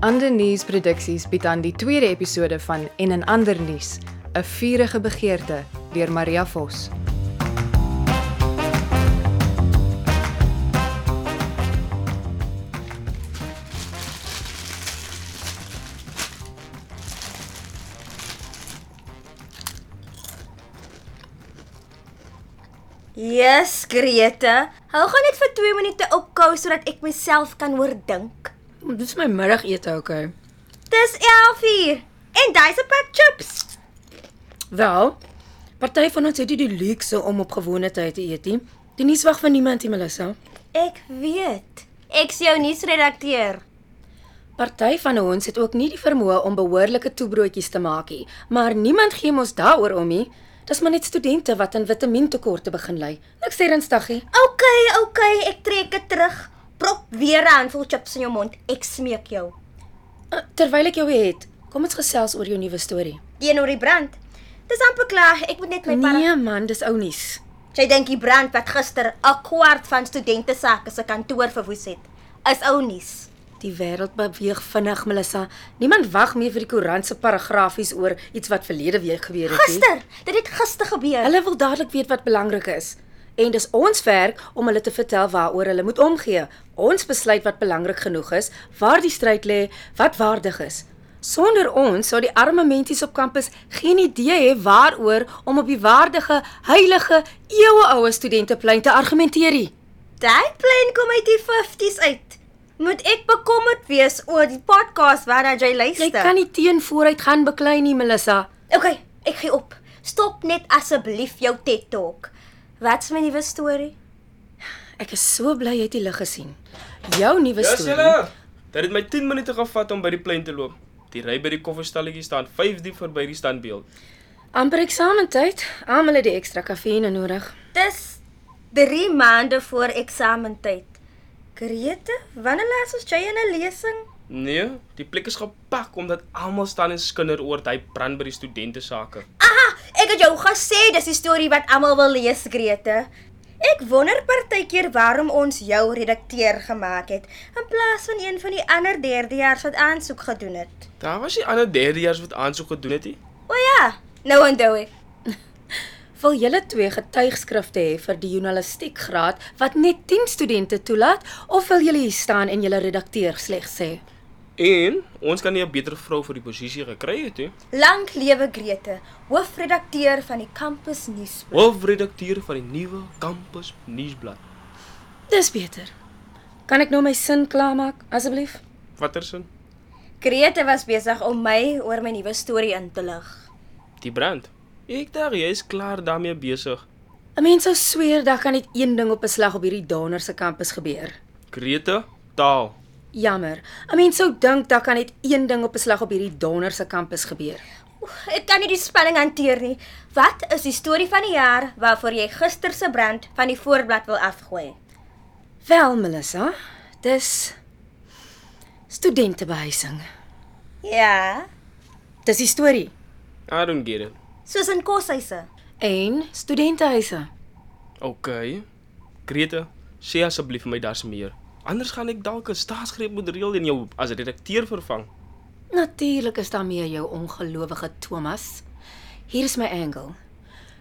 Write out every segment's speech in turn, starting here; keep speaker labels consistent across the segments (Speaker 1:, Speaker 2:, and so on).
Speaker 1: Staande Nuus Produksies bied aan die tweede episode van En en ander nuus, 'n vurige begeerte deur Maria Vos.
Speaker 2: Jesus, Grete, hou gaan net vir 2 minute opkou sodat ek myself kan oordink.
Speaker 3: Hmm, Dit is my middagete, okay.
Speaker 2: Dis 11uur en dis 'n pak chips.
Speaker 3: Wel, party van ons het nie die luukse om op gewone tyd te eet nie. Die nuus wag van niemand nie, Melissa.
Speaker 2: Ek weet. Ek's jou nuusredakteur.
Speaker 3: Party van ons het ook nie die vermoë om behoorlike toebroodjies te maak nie, maar niemand gee mos daaroor om nie. Dis maar net studente wat aan vitamientekorte begin ly. Niks ernstiggie.
Speaker 2: OK, OK, ek trek dit terug. Prop weer 'n handvol chips in jou mond. Ek smeek jou.
Speaker 3: Uh, Terwyl ek jou het, kom ons gesels oor jou nuwe storie.
Speaker 2: Teenoor die brand. Dis amper klaar. Ek moet net my para-
Speaker 3: Nee man, dis ou nuus.
Speaker 2: Jy dink die brand wat gister 'n kwart van studente sake se kantoor verwoes het, is ou nuus.
Speaker 3: Die wêreld beweeg vinnig, Melissa. Niemand wag meer vir die koerant se paragrafies oor iets wat verlede week gebeur het nie.
Speaker 2: Gister, dit het gister gebeur.
Speaker 3: Hulle wil dadelik weet wat belangrik is. En dis ons werk om hulle te vertel waaroor hulle moet omgee. Ons besluit wat belangrik genoeg is, waar die stryd lê, wat waardig is. Sonder ons sou die arme mensies op kampus geen idee hê waaroor om op die waardige, heilige, eeueoue studenteplein te argumenteer nie.
Speaker 2: Daai plan kom uit die 50s uit. Moet ek bekommerd wees oor die podcast waarna jy luister?
Speaker 3: Jy kan nie teen vooruit gaan beklei nie, Melissa.
Speaker 2: Okay, ek gee op. Stop net asseblief jou TED Talk. Wat's my nuwe storie?
Speaker 3: Ek is so bly jy het die lig gesien. Jou nuwe
Speaker 4: Dis
Speaker 3: storie.
Speaker 4: julle. Dit het my 10 minute gevat om by die plein te loop. Die ry by die koffiestalletjie staan 5 diep verby die standbeeld.
Speaker 3: amper eksamentyd. Almal het die ekstra kafeïne nodig.
Speaker 2: Dis 3 maande voor eksamentyd. Grete, wanneer laas ons jy in 'n lesing?
Speaker 4: Nee, die plek is gepak omdat almal staan en skinder oor hy brand by die studente sake.
Speaker 2: Aha, ek het jou gesê dis die storie wat almal wil lees, Grete. Ek wonder partykeer waarom ons jou redakteur gemaak het in plaas van een van die ander derdejaars wat aansoek gedoen het.
Speaker 4: Daar was die ander derdejaars wat aansoek gedoen het. nie.
Speaker 2: O ja, nou onthou ek.
Speaker 3: Wil julle twee getuigskrifte hê vir die journalistiekgraad wat net 10 studente toelaat of wil julle hier staan en julle redakteur slegs sê?
Speaker 4: En ons kan nie 'n beter vrou vir die posisie gekry het nie.
Speaker 2: Lank lewe Grete, hoofredakteur van die kampus nuus.
Speaker 4: Hoofredakteur van die nuwe kampus nuusblad.
Speaker 3: Dis beter. Kan ek nou my sin klaarmaak asseblief?
Speaker 4: Watter sin?
Speaker 2: Grete was besig om my oor my nuwe storie in te lig.
Speaker 4: Die brand. Ek dink jy is klaar daarmee besig.
Speaker 3: 'n Mens sou sweer daar kan net een ding op 'n slag op hierdie Donner se kampus gebeur.
Speaker 4: Krete, taal.
Speaker 3: Jammer. 'n Mens sou dink daar kan net een ding op 'n slag op hierdie Donner se kampus gebeur.
Speaker 2: Oef, Ek kan nie die spanning hanteer nie. Wat is die storie van die jaar waarvoor jy gister se brand van die voorblad wil afgooi?
Speaker 3: Wel, Melissa, dis studentebehuising.
Speaker 2: Ja,
Speaker 3: Dis die storie.
Speaker 4: I don't get it.
Speaker 2: soos in koshuise.
Speaker 3: Een studentehuise.
Speaker 4: OK. Grete, sê asseblief vir my daar's meer. Anders gaan ek dalk 'n staatsgreep moet reël en jou as redakteur vervang.
Speaker 3: Natuurlik is daar meer jou ongelowige Thomas. Hier is my angle.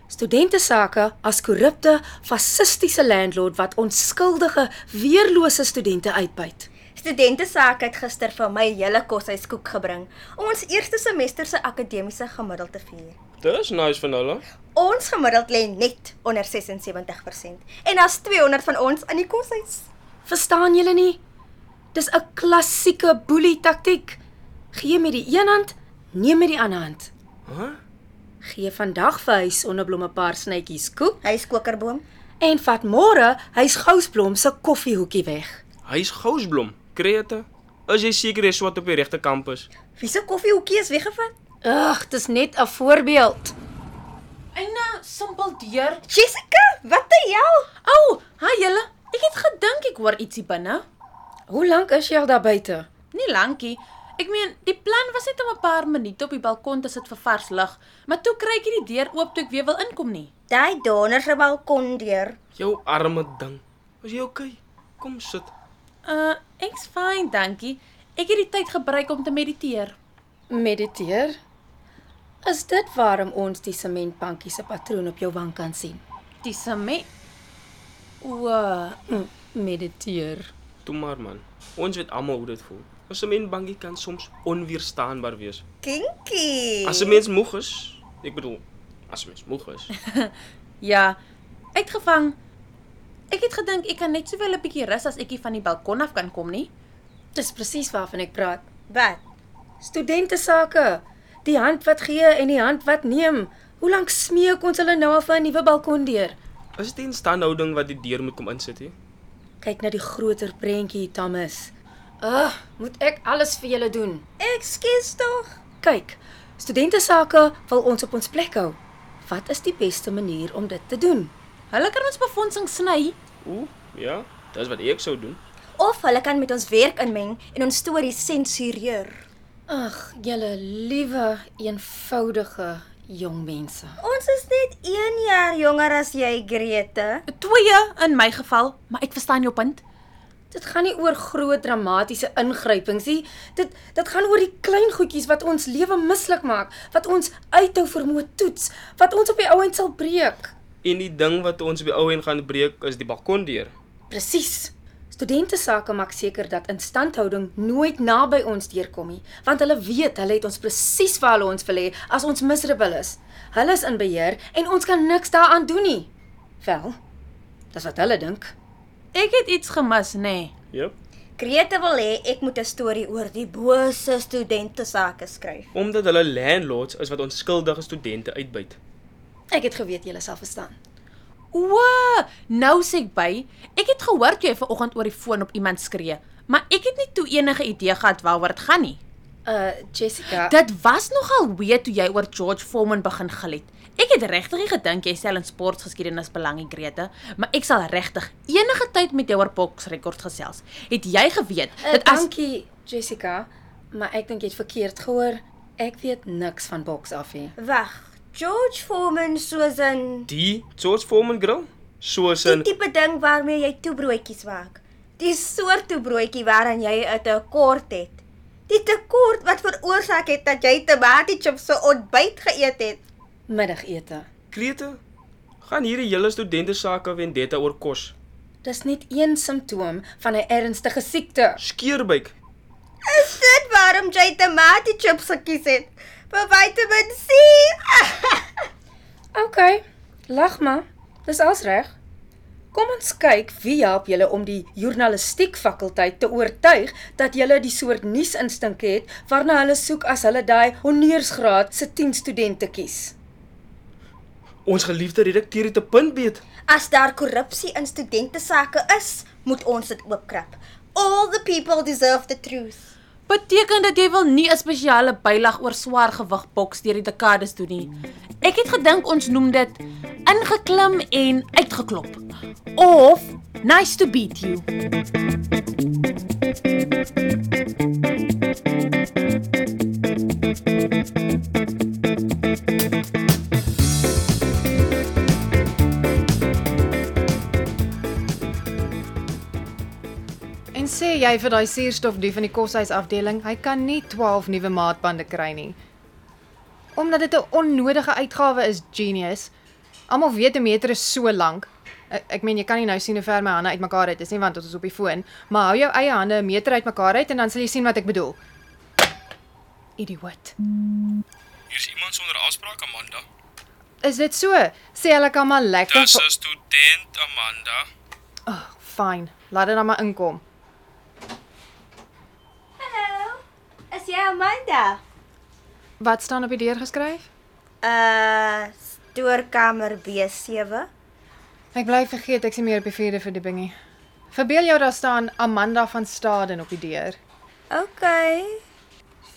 Speaker 3: Studente sake as korrupte, fasistiese landlord wat onskuldige, weerlose studente uitbuit.
Speaker 2: Studente saak het gister vir my hele koshuiskoek gebring om ons eerste semester se akademiese gemiddeld te vier.
Speaker 4: Dis nice van hulle.
Speaker 2: Ons gemiddeld lê net onder 76% en daar's 200 van ons in die koshuis.
Speaker 3: Verstaan julle nie? Dis 'n klassieke boelie taktiek. Gee met die een hand, neem met die ander hand.
Speaker 4: Hæ?
Speaker 3: Gee vandag vir hy sonneblom 'n paar snytjies koek
Speaker 2: Hy's kokerboom.
Speaker 3: en vat môre hy's gousblom se koffiehoekie weg.
Speaker 4: Hy's gousblom. Grete, is jy seker jy swat op die regte kampus?
Speaker 2: Wie se koffiehoekie is weggevat?
Speaker 3: Ag, dis net 'n voorbeeld. eh,
Speaker 5: Eina simpel deur.
Speaker 2: Jessica, wat die hel?
Speaker 5: Au, oh, hi julle. Ek het gedink ek hoor ietsie binne.
Speaker 3: Hoe lank is jy al daar buite?
Speaker 5: Nie lankie. Ek meen, die plan was net om 'n paar minute op die balkon te sit vir vars lug, maar toe kry ek nie die deur oop toe ek weer wil inkom nie.
Speaker 2: Daai donder se balkon deur.
Speaker 4: Jou arme ding. Is jy OK? Kom sit.
Speaker 5: Uh, ek's fyn, dankie. Ek het die tyd gebruik om te mediteer.
Speaker 3: Mediteer. Is dit waarom ons die sementbankie se patroon op jou wang kan sien?
Speaker 5: Dis me. Ooh,
Speaker 3: Hm, Mediteer.
Speaker 4: Toe maar man. Ons weet almal hoe dit voel. 'n Sementbankie kan soms onweerstaanbaar wees.
Speaker 2: Kinky.
Speaker 4: As 'n mens moeg is, ek bedoel, as 'n mens moeg is,
Speaker 5: ja. Uitgevang. Ek het gedink ek kan net sowel 'n bietjie rus as ek hier van die balkon af kan kom nie.
Speaker 3: Dis presies waarvan ek praat.
Speaker 2: Wat?
Speaker 3: Studente sake. Die hand wat gee en die hand wat neem. Hoe lank smeek ons hulle nou af vir 'n nuwe balkondeur?
Speaker 4: is dit 'n standhouding wat die deur moet kom insit hè?
Speaker 3: Kyk na die groter prentjie, Thomas. Ag, moet ek alles vir julle doen?
Speaker 2: Ekskuus tog.
Speaker 3: Kyk, studente sake wil ons op ons plek hou. Wat is die beste manier om dit te doen?
Speaker 5: Hulle kan ons befondsing sny.
Speaker 4: Ooh, ja, dis wat ek sou doen.
Speaker 2: Of hulle kan met ons werk inmeng en ons stories sensureer.
Speaker 3: Ag, julle liewe, eenvoudige jong mense.
Speaker 2: Ons is net 1 jaar jonger as jy, Grete.
Speaker 5: Twee in my geval, maar ek verstaan jou punt.
Speaker 3: Dit gaan nie oor groot dramatiese ingrypings nie. Dit dit gaan oor die klein goedjies wat ons lewe mislik maak, wat ons uithou vermoë toets, wat ons op die ou end sal breek.
Speaker 4: En die ding wat ons by ou en gaan breek is die balkondeur.
Speaker 3: Presies. Studente sake maak seker dat instandhouding nooit naby ons deurkom nie, want hulle weet hulle het ons presies waar hulle ons wil hê as ons miserable is. Hulle is in beheer en ons kan niks daaraan doen nie. Wel, dis wat hulle dink.
Speaker 5: Ek het iets gemis, nê? Nee.
Speaker 4: Jep.
Speaker 2: Grete wil hê ek moet 'n storie oor die bose studente sake skryf.
Speaker 4: Omdat hulle landlords is wat onskuldige studente uitbuit.
Speaker 3: Ek het geweet julle sal verstaan.
Speaker 5: O, nou sê ek by, ek het gehoor toe jy vanoggend oor die foon op iemand skree, maar ek het nie toe enige idee gehad waaroor dit gaan nie.
Speaker 3: Uh Jessica,
Speaker 5: Dit was nogal weird toe jy oor George Foreman begin gil het. Ek het regtig nie gedink jy stel in sportgeskiedenis belang nie, Grete, maar ek sal regtig enige tyd met jou oor boksrekords gesels. Het jy geweet
Speaker 3: Uh,
Speaker 5: dat as
Speaker 3: dankie Jessica, maar ek dink jy het verkeerd gehoor. Ek weet niks van boks af nie.
Speaker 2: Wag, George Foreman soos 'n
Speaker 4: Die George Foreman grill, soos 'n
Speaker 2: die tipe ding waarmee jy toebroodjies maak. Die soort toebroodjie waaraan jy 'n tekort het. Die tekort wat veroorsaak het dat jy tomatie chips se ontbyt geëet het.
Speaker 3: Middagete.
Speaker 4: krete gaan hierdie hele studente sake vendetta oor kos.
Speaker 3: Dis net een simptoom van 'n ernstige siekte.
Speaker 4: Skeerbyk.
Speaker 2: Is dit waarom jy tomatie chips gekies het? Vir Vitamiin C.
Speaker 3: OK, lag maar. Dis als reg. Kom ons kyk wie help julle om die journalistiek fakulteit te oortuig dat julle die soort nuusinstink het waarna hulle soek as hulle daai honeursgraad se 10 studente kies.
Speaker 4: Ons geliefde redakteur het 'n punt beet.
Speaker 2: As daar korrupsie in studente sake is, moet ons dit oopkrap. All the people deserve the truth.
Speaker 5: beteken dat jy wil nie 'n spesiale bylag oor swaar gewig boks deur die dekades doen nie. Ek het gedink ons noem dit ingeklim en uitgeklop of nice to beat you.
Speaker 1: En sê jy vir daai suurstofdief in die koshuisafdeling, hy kan nie 12 nuwe maatbande kry nie. Omdat dit 'n onnodige uitgawe is, genius. Almal weet 'n meter is so lank. Ek, ek meen jy kan nie nou sien hoe ver my hande uitmekaar uit is nie want ons is op die foon, maar hou jou eie hande 'n meter uitmekaar uit en dan sal jy sien wat ek bedoel. Idioot.
Speaker 6: Hier's iemand sonder afspraak Amanda.
Speaker 1: Is dit so? Sê hulle kan maar
Speaker 4: Ja,
Speaker 1: lekker
Speaker 6: Dis 'n student Amanda.
Speaker 1: oh, fyn. Laat dit dan maar inkom.
Speaker 2: Hallo. Is jy Amanda?
Speaker 1: Wat staan op die deur geskryf?
Speaker 2: Uh, stoorkamer B7.
Speaker 1: Ek bly vergeet ek sien meer op die vierde verdieping nie. Verbeel jou daar staan Amanda van Staden op die deur.
Speaker 2: OK.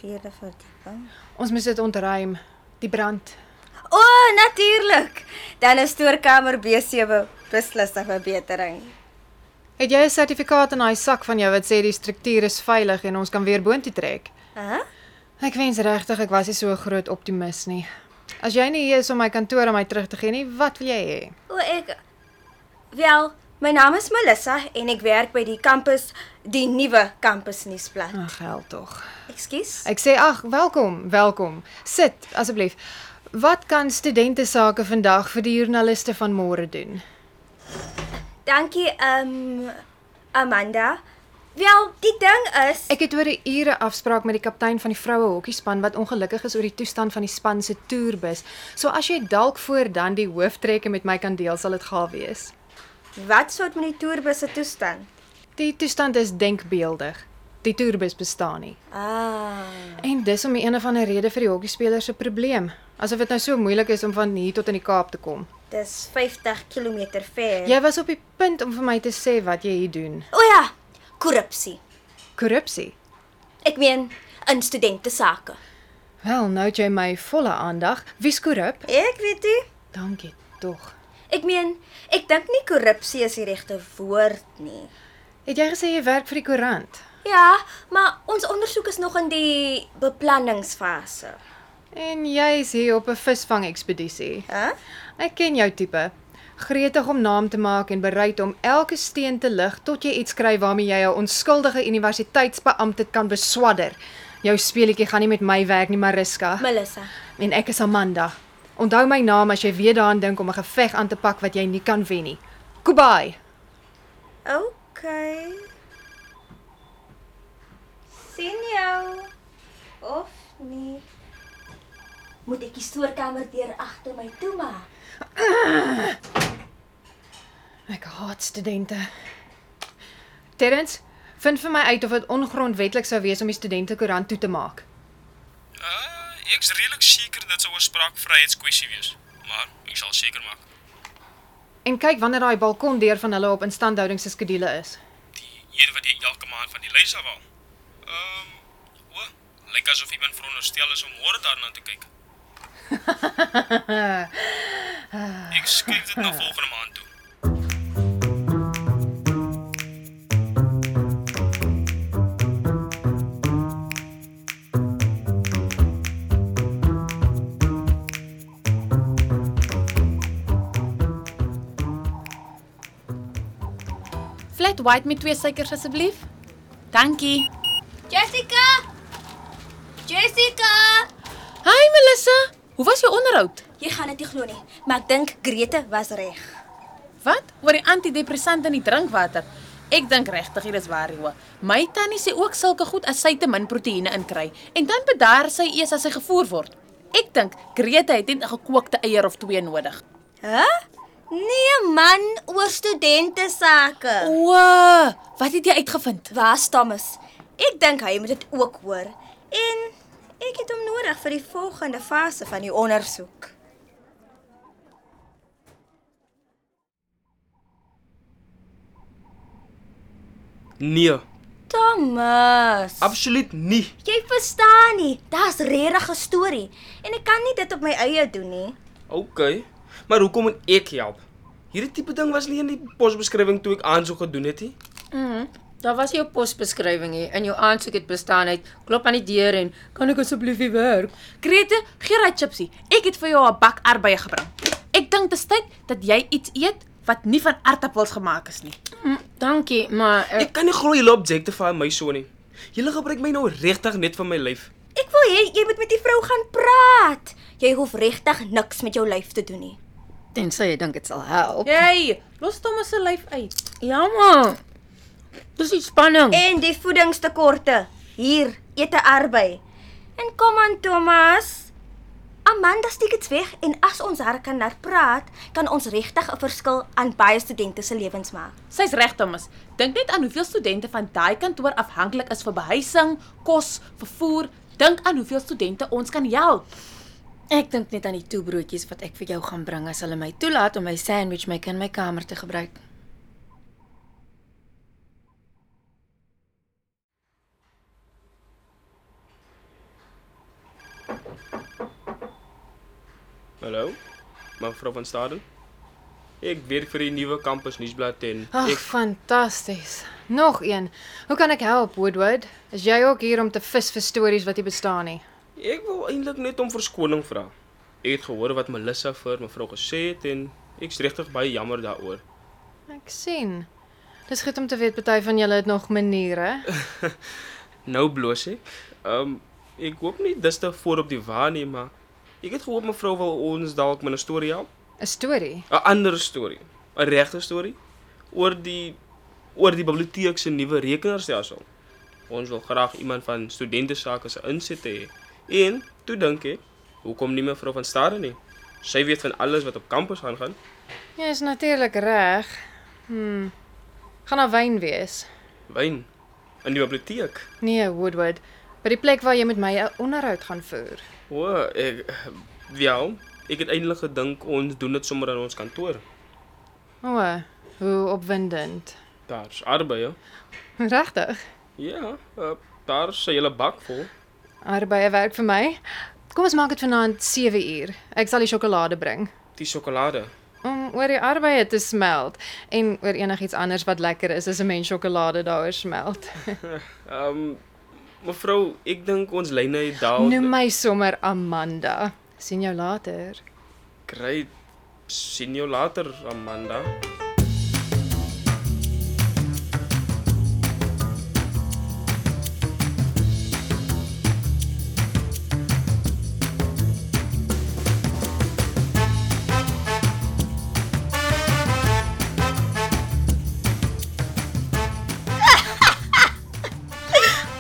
Speaker 2: Vierde verdieping.
Speaker 1: Ons moet dit ontruim. Die brand.
Speaker 2: O, oh, natuurlik. Dan is stoorkamer B7 beslis 'n verbetering.
Speaker 1: Het jy 'n sertifikaat in daai sak van jou wat sê die struktuur is veilig en ons kan weer boontoe trek?
Speaker 2: Hæ? Huh?
Speaker 1: Ek wens regtig ek was nie so 'n groot optimis nie. As jy nie hier is om my kantoor aan my terug te gee nie, wat wil jy hê?
Speaker 2: O, ek wel, My naam is Melissa en ek werk by die kampus, die nuwe kampus nuusblad.
Speaker 1: Ag, hel tog.
Speaker 2: Ekskuus.
Speaker 1: Ek sê ag, welkom, welkom. Sit asseblief. Wat kan studente sake vandag vir die joernaliste van môre doen?
Speaker 2: Dankie ehm um, Amanda. Wel, die ding is
Speaker 1: Ek het oor 'n ure afspraak met die kaptein van die vroue hokkiespan wat ongelukkig is oor die toestand van die span se toerbus. So as jy dalk voor dan die hooftrekke met my kan deel, sal dit gaaf wees.
Speaker 2: wat soort monitoorbusse toestand?
Speaker 1: Die toestand is denkbeeldig. Die toerbus bestaan nie.
Speaker 2: Ah.
Speaker 1: En dis om 'n een of ander rede vir die hokkiespelers se probleem, asof dit nou so moeilik is om van hier tot in die Kaap te kom.
Speaker 2: Dis 50 km ver.
Speaker 1: Jy was op die punt om vir my te sê wat jy hier doen.
Speaker 2: Ja. O ja, korrupsie.
Speaker 1: Korrupsie.
Speaker 2: Ek meen in studente sake.
Speaker 1: Wel, nou het jy my volle aandag. Wie's korrup?
Speaker 2: Ek weet nie.
Speaker 1: Dankie tog.
Speaker 2: Ek meen, ek dink nie korrupsie is die regte woord nie.
Speaker 1: Het jy gesê jy werk vir die koerant?
Speaker 2: Ja, maar ons ondersoek is nog in die beplanningsfase.
Speaker 1: En jy's hier op 'n visvang ekspedisie.
Speaker 2: Hæ? Huh?
Speaker 1: Ek ken jou tipe. Gretig om naam te maak en bereid om elke steen te lig tot jy iets kry waarmee jy 'n onskuldige universiteitsbeampte kan beswadder. Jou speletjie gaan nie met my werk nie, Mariska.
Speaker 2: Melissa.
Speaker 1: En ek is Amanda. Onthou my naam as jy weer daaraan dink om 'n geveg aan te pak wat jy nie kan wen nie. Kubai.
Speaker 2: OK. sien jou of nie. Moet ek die stoorkamer deur agter my toemaak?
Speaker 1: Ek haat studente. Terrence, vind vir my uit of dit ongrondwetlik sou wees om die studente koerant toe te maak.
Speaker 6: Uh, ek's redelik seker dit sou 'n spraakvryheidskwessie wees, maar ek sal seker maak.
Speaker 1: En kyk wanneer daai balkondeur van hulle op instandhouding se skedule is.
Speaker 6: Die een wat jy elke maand van die lys afhaal. Ehm, um, o, lyk asof iemand veronderstel is om môre daarna te kyk. ek skuif dit na volgende maand toe.
Speaker 5: Flat white met twee suikers asseblief. Dankie.
Speaker 2: Jessica! Jessica!
Speaker 5: Hi Melissa, hoe was jou onderhoud?
Speaker 2: Jy gaan dit nie glo nie, maar ek dink Grete was reg.
Speaker 5: Wat? Oor die antidepressante in die drinkwater. Ek dink regtig dit is waar hoor. My tannie sê ook sulke goed as sy te min proteïene inkry en dan bedaar sy eers as sy gevoer word. Ek dink Grete het net 'n gekookte eier of twee nodig.
Speaker 2: Hæ? Huh? Nee man, oor studente sake.
Speaker 5: O, wat het jy uitgevind?
Speaker 2: Waar's Thomas? Ek dink hy moet dit ook hoor. En ek het hom nodig vir die volgende fase van die ondersoek.
Speaker 4: Nee,
Speaker 2: Thomas,
Speaker 4: absoluut nie.
Speaker 2: jy verstaan nie. Daar's regtig 'n storie en ek kan nie dit op my eie doen nie.
Speaker 4: OK. Maar hoekom moet ek help? Hierdie tipe ding was nie in die posbeskrywing toe ek aansoek gedoen het nie.
Speaker 3: Daar was jou posbeskrywing hier in jou aansoek het bestaan uit klop aan die deur en kan ek asseblief hier werk?
Speaker 5: Grete, gee daai chipsie. Ek het vir jou 'n bak aardbeie gebring. Ek dink dit is tyd dat jy iets eet wat nie van aartappels gemaak is nie.
Speaker 3: Mm, dankie, maar
Speaker 5: Eh.
Speaker 3: eh, ek,
Speaker 4: Ek kan nie glo julle objectify my so nie. Julle gebruik my nou regtig net vir my lyf.
Speaker 2: Ek wil hê jy moet met die vrou gaan praat. Jy hoef regtig niks met jou lyf te doen nie.
Speaker 3: tensy jy dink dit sal help.
Speaker 5: Jy, los Thomas se lyf uit.
Speaker 3: Ja maar. Dis die spanning.
Speaker 2: En die voedingstekorte. Hier, eet 'n arbei. En kom aan Thomas. Amanda steek dit weg en as ons haar kan laat praat, kan ons regtig 'n verskil aan baie studente se lewens maak.
Speaker 5: Sy's reg, Thomas. Dink net aan hoeveel studente van daai kantoor afhanklik is vir behuising, kos, vervoer. Dink aan hoeveel studente ons kan help.
Speaker 3: Ek dink net aan die toebroodjies wat ek vir jou gaan bring as hulle my toelaat om my sandwich maker in my kamer te gebruik.
Speaker 4: Hallo. Mevrou van Staden. Ek werk vir die nuwe kampus nuusblad en
Speaker 1: Ag,
Speaker 4: ek
Speaker 1: fantasties. Nog een. Hoe kan ek help, Woodward? Is jy ook hier om te vis vir stories wat nie bestaan nie?
Speaker 4: ek wil eintlik net om verskoning vra. Ek het gehoor wat Melissa vir mevrou gesê het en ek's regtig baie jammer daaroor.
Speaker 1: Ek sien. Dis goed om te weet party van julle het nog maniere.
Speaker 4: Nou bloos hè. Ehm ek hoop nie dis te voor op die waar nie, maar ek het gehoop mevrou wil ons dalk met 'n storie help,
Speaker 1: 'n Storie.
Speaker 4: 'n ander storie, 'n regte storie oor die oor die biblioteek se nuwe rekenaarstelsel. Ons wil graag iemand van studente sake se insigte hê. En toe dink ek, hoekom nie mevrou van Staden nie? Sy weet van alles wat op kampus aangaan.
Speaker 1: Jy Ja, is natuurlik reg. Hm. Gaan daar wyn wees?
Speaker 4: Wyn in die biblioteek.
Speaker 1: Nee, Woodward. By die plek waar jy met my 'n onderhoud gaan voer.
Speaker 4: O, ek ja, ek het eintlik gedink ons doen dit sommer in ons kantoor.
Speaker 1: O, hoe opwindend.
Speaker 4: Daar's arbeid.
Speaker 1: Regtig?
Speaker 4: Ja, uh, daar is 'n hele bak vol.
Speaker 1: Arbeid werk vir my. Kom ons maak dit vanaand 7 uur. Ek sal die sjokolade bring.
Speaker 4: Die sjokolade.
Speaker 1: om oor die arbeid te smelt en oor enigiets anders wat lekker is as 'n mens sjokolade daaroor smelt.
Speaker 4: Ehm um, mevrou, ek dink ons lyne het daal.
Speaker 1: Noem my sommer Amanda. sien jou later.
Speaker 4: Great. Sien jou later, Amanda.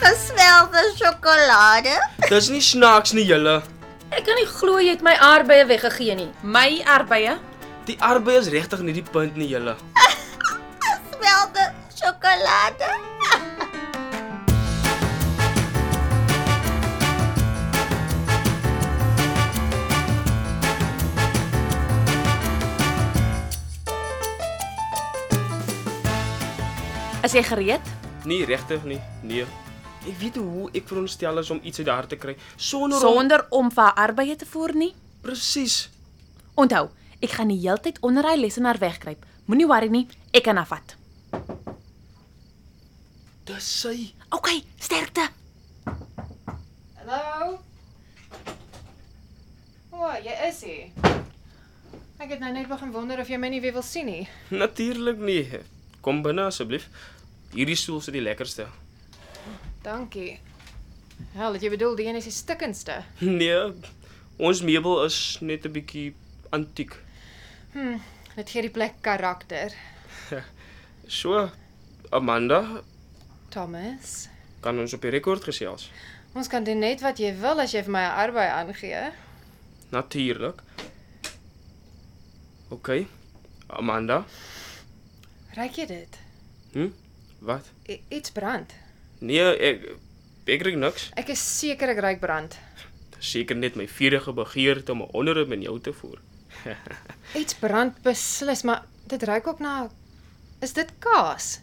Speaker 2: Gesmelde sjokolade.
Speaker 4: Dis nie snaaks nie, julle.
Speaker 3: Ek kan nie glo jy het my aardbeie weggegee nie.
Speaker 5: My arbeie,
Speaker 4: Die arbeid is regtig nie die punt nie, julle.
Speaker 2: Gesmelde sjokolade.
Speaker 5: is jy gereed?
Speaker 4: Nee, regtig nie. Nee. Ek weet nie hoe ek veronderstel is om iets uit die hart te kry sonder om-
Speaker 5: Sonder om vir haar arbeie te voer nie.
Speaker 4: presies.
Speaker 5: Onthou, ek gaan die heeltyd onder hy lesenaar wegkruip. Moenie worry nie, ek kan haar vat.
Speaker 4: Dis sy.
Speaker 5: OK, sterkte.
Speaker 1: Hallo. O, jy is hier. Ek het nou net begin wonder of jy my nie weer wil sien nie.
Speaker 4: Natuurlik nie. Kom binne asseblief. Hierdie stoel is die lekkerste.
Speaker 1: Dankie. Hel, jy bedoel die een is die stikkendste.
Speaker 4: Nee, ons meubel is net 'n bietjie antiek.
Speaker 1: Dit gee die plek karakter.
Speaker 4: So, Amanda,
Speaker 1: Thomas,
Speaker 4: kan ons op die rekord gesels?
Speaker 1: ons kan doen net wat jy wil as jy vir my 'n arbeid aangee.
Speaker 4: Natuurlik. OK. Amanda,
Speaker 1: Ryk jy dit?
Speaker 4: hm? Wat?
Speaker 1: I iets brand.
Speaker 4: Nee, ek ek kry niks.
Speaker 1: Ek is seker ek ryk brand.
Speaker 4: Seker net my vurige begeerte om 'n onderhoud met jou te voer.
Speaker 1: Iets brand beslis, maar dit ruik ook na Is dit kaas?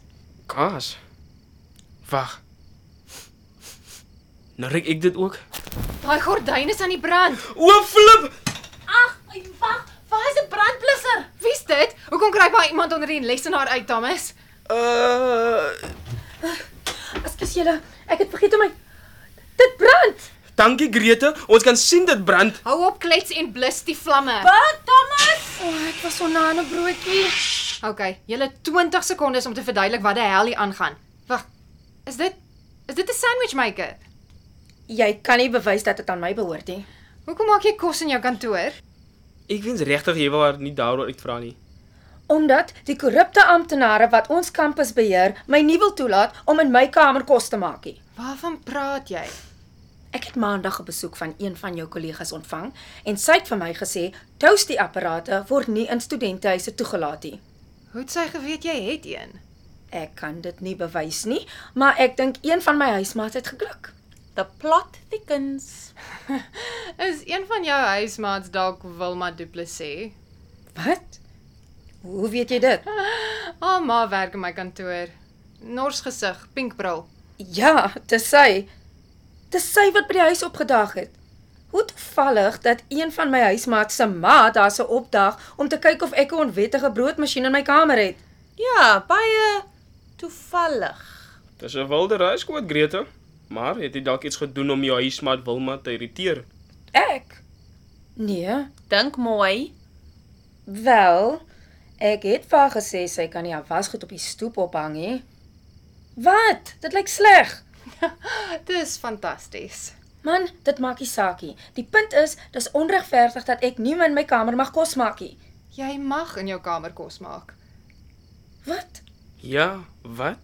Speaker 4: Kaas. Wag. Nou ryk ek dit ook.
Speaker 1: Daai gordyn is aan die brand.
Speaker 4: O, flip!
Speaker 5: Ag, ai, wag, waar is 'n brandblusser?
Speaker 1: Wie's dit? Hoekom kry baie iemand onder die lesenaar uit, Thomas?
Speaker 4: Uh,
Speaker 3: Ekskuus julle, ek het vergeet om my Dit brand.
Speaker 4: dankie Grete. Ons kan sien dit brand.
Speaker 1: Hou op klets en blus die vlamme.
Speaker 5: Bak, Thomas.
Speaker 3: O, oh, ek was sonder 'n broodjie.
Speaker 1: Okay, julle 20 sekondes om te verduidelik wat die hel hier aangaan. Wag. Is dit Is dit 'n sandwich maker?
Speaker 3: Jy kan nie bewys dat dit aan my behoort nie.
Speaker 1: Hoekom maak jy kos in jou kantoor?
Speaker 4: Ek wens regtig jy wil haar nie daaroor uitvra nie.
Speaker 3: Omdat die korrupte amptenare wat ons kampus beheer, my nie wil toelaat om in my kamer kos te maak nie.
Speaker 1: Waarvan praat jy?
Speaker 3: Ek het maandag 'n besoek van een van jou kollegas ontvang en sy het vir my gesê, "Toasty apparate word nie in studentehuise toegelaat nie."
Speaker 1: Hoe het sy geweet jy het een?
Speaker 3: Ek kan dit nie bewys nie, maar ek dink een van my huismaats het gekluk.
Speaker 5: The plot thickens.
Speaker 1: Is een van jou huismaats dalk Wilma Du Plessis?
Speaker 3: Wat? Hoe weet jy dit?
Speaker 1: Haar ma werk in my kantoor. Nors gesig, pink bril.
Speaker 3: Ja, dis sy. Dis sy wat by die huis opgedag het. Hoe toevallig dat een van my huismaats se ma daar sou opdag om te kyk of ek 'n onwettige broodmasjien in my kamer het.
Speaker 5: Ja, baie toevallig.
Speaker 4: Dis 'n wilde reis kwad Grete, maar het jy dalk iets gedoen om jou huismaat Wilma te irriteer?
Speaker 3: Ek? Nee,
Speaker 5: Dink mooi.
Speaker 3: wel. Ek het vir haar gesê sy kan nie haar wasgoed op die stoep ophang nie. Wat? Dit lyk sleg.
Speaker 1: Dis fantasties.
Speaker 3: Man, dit maak nie saak nie. Die punt is, dis onregverdig dat ek nie in my kamer mag kos maak nie.
Speaker 1: Jy mag in jou kamer kos maak.
Speaker 3: Wat?
Speaker 4: Ja, wat?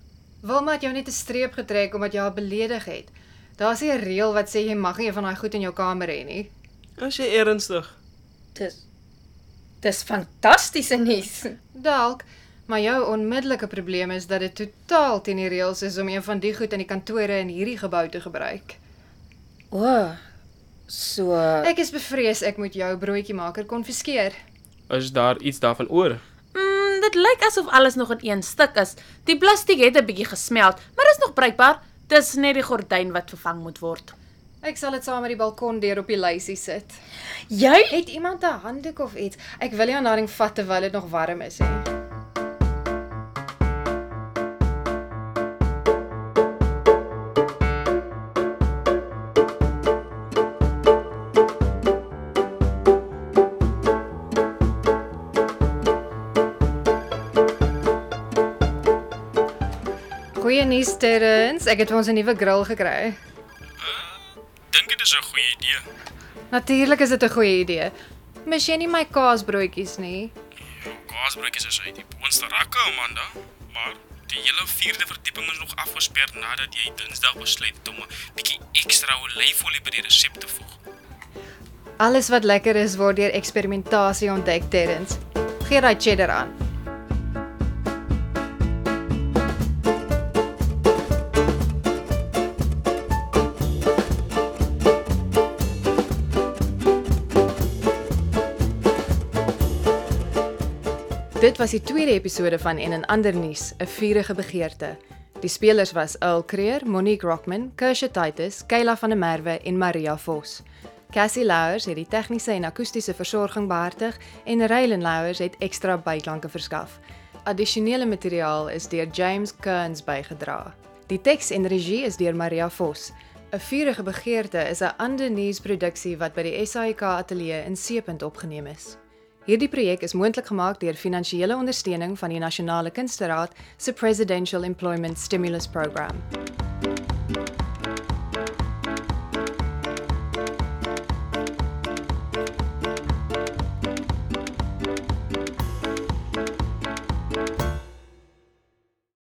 Speaker 1: Wilma het jou net 'n streep getrek omdat jy haar beledig het. Daar's nie 'n reël wat sê jy mag nie een van daai goed in jou kamer hê nie.
Speaker 4: As jy ernstig.
Speaker 3: Dis Dis fantastiese nuus.
Speaker 1: Dalk, maar jou onmiddellike probleem is dat dit totaal teen die reëls is om een van die goed in die kantore in hierdie gebou te gebruik.
Speaker 3: O. Oh, so
Speaker 1: Ek is bevrees ek moet jou broodjiemaker konfiskeer.
Speaker 4: Is daar iets daarvan oor?
Speaker 5: Mm, dit lyk asof alles nog in een stuk is. Die plastiek het 'n bietjie gesmelt, maar is nog bruikbaar. Dis net die gordyn wat vervang moet word.
Speaker 1: Ek sal dit saam met die balkondeur op die lysie sit.
Speaker 3: jy
Speaker 1: Het iemand 'n handdoek of iets? Ek wil jou naring vat terwyl dit nog warm is hè. Goeie nuus Terrens, ek het vir ons 'n nuwe grill gekry.
Speaker 6: Uh, Dink dit is 'n goeie idee.
Speaker 1: Natuurlik is dit 'n goeie idee. Mis jy nie my kaasbroodjies nie?
Speaker 6: Kaasbroodjies is uit die boonste rakke, Amanda, maar die hele vierde verdieping is nog afgesper nadat jy Dinsdag besluit het om 'n bietjie ekstra olyfolie by die resep te voeg.
Speaker 1: Alles wat lekker is word deur eksperimentasie ontdek, Terrens. Gee daai cheddar aan. Dit was die tweede episode van En 'n ander nuus, 'n vurige begeerte. Die spelers was Earl Creer, Monique Rockman, Kersha Titus, Kayla van der Merwe en Maria Vos. Cassie Louwers het die tegniese en akoestiese versorging behartig en Reilen Louwers het ekstra byklanke verskaf. Addisionele materiaal is deur James Kearns bygedra. Die teks en regie is deur Maria Vos. 'n Vurige begeerte is 'n ander nuusproduksie wat by die SAIK ateljee in Seepunt opgeneem is. Hierdie projek is moontlik gemaak deur finansiële ondersteuning van die Nasionale Kunsteraad se Presidential Employment Stimulus Program.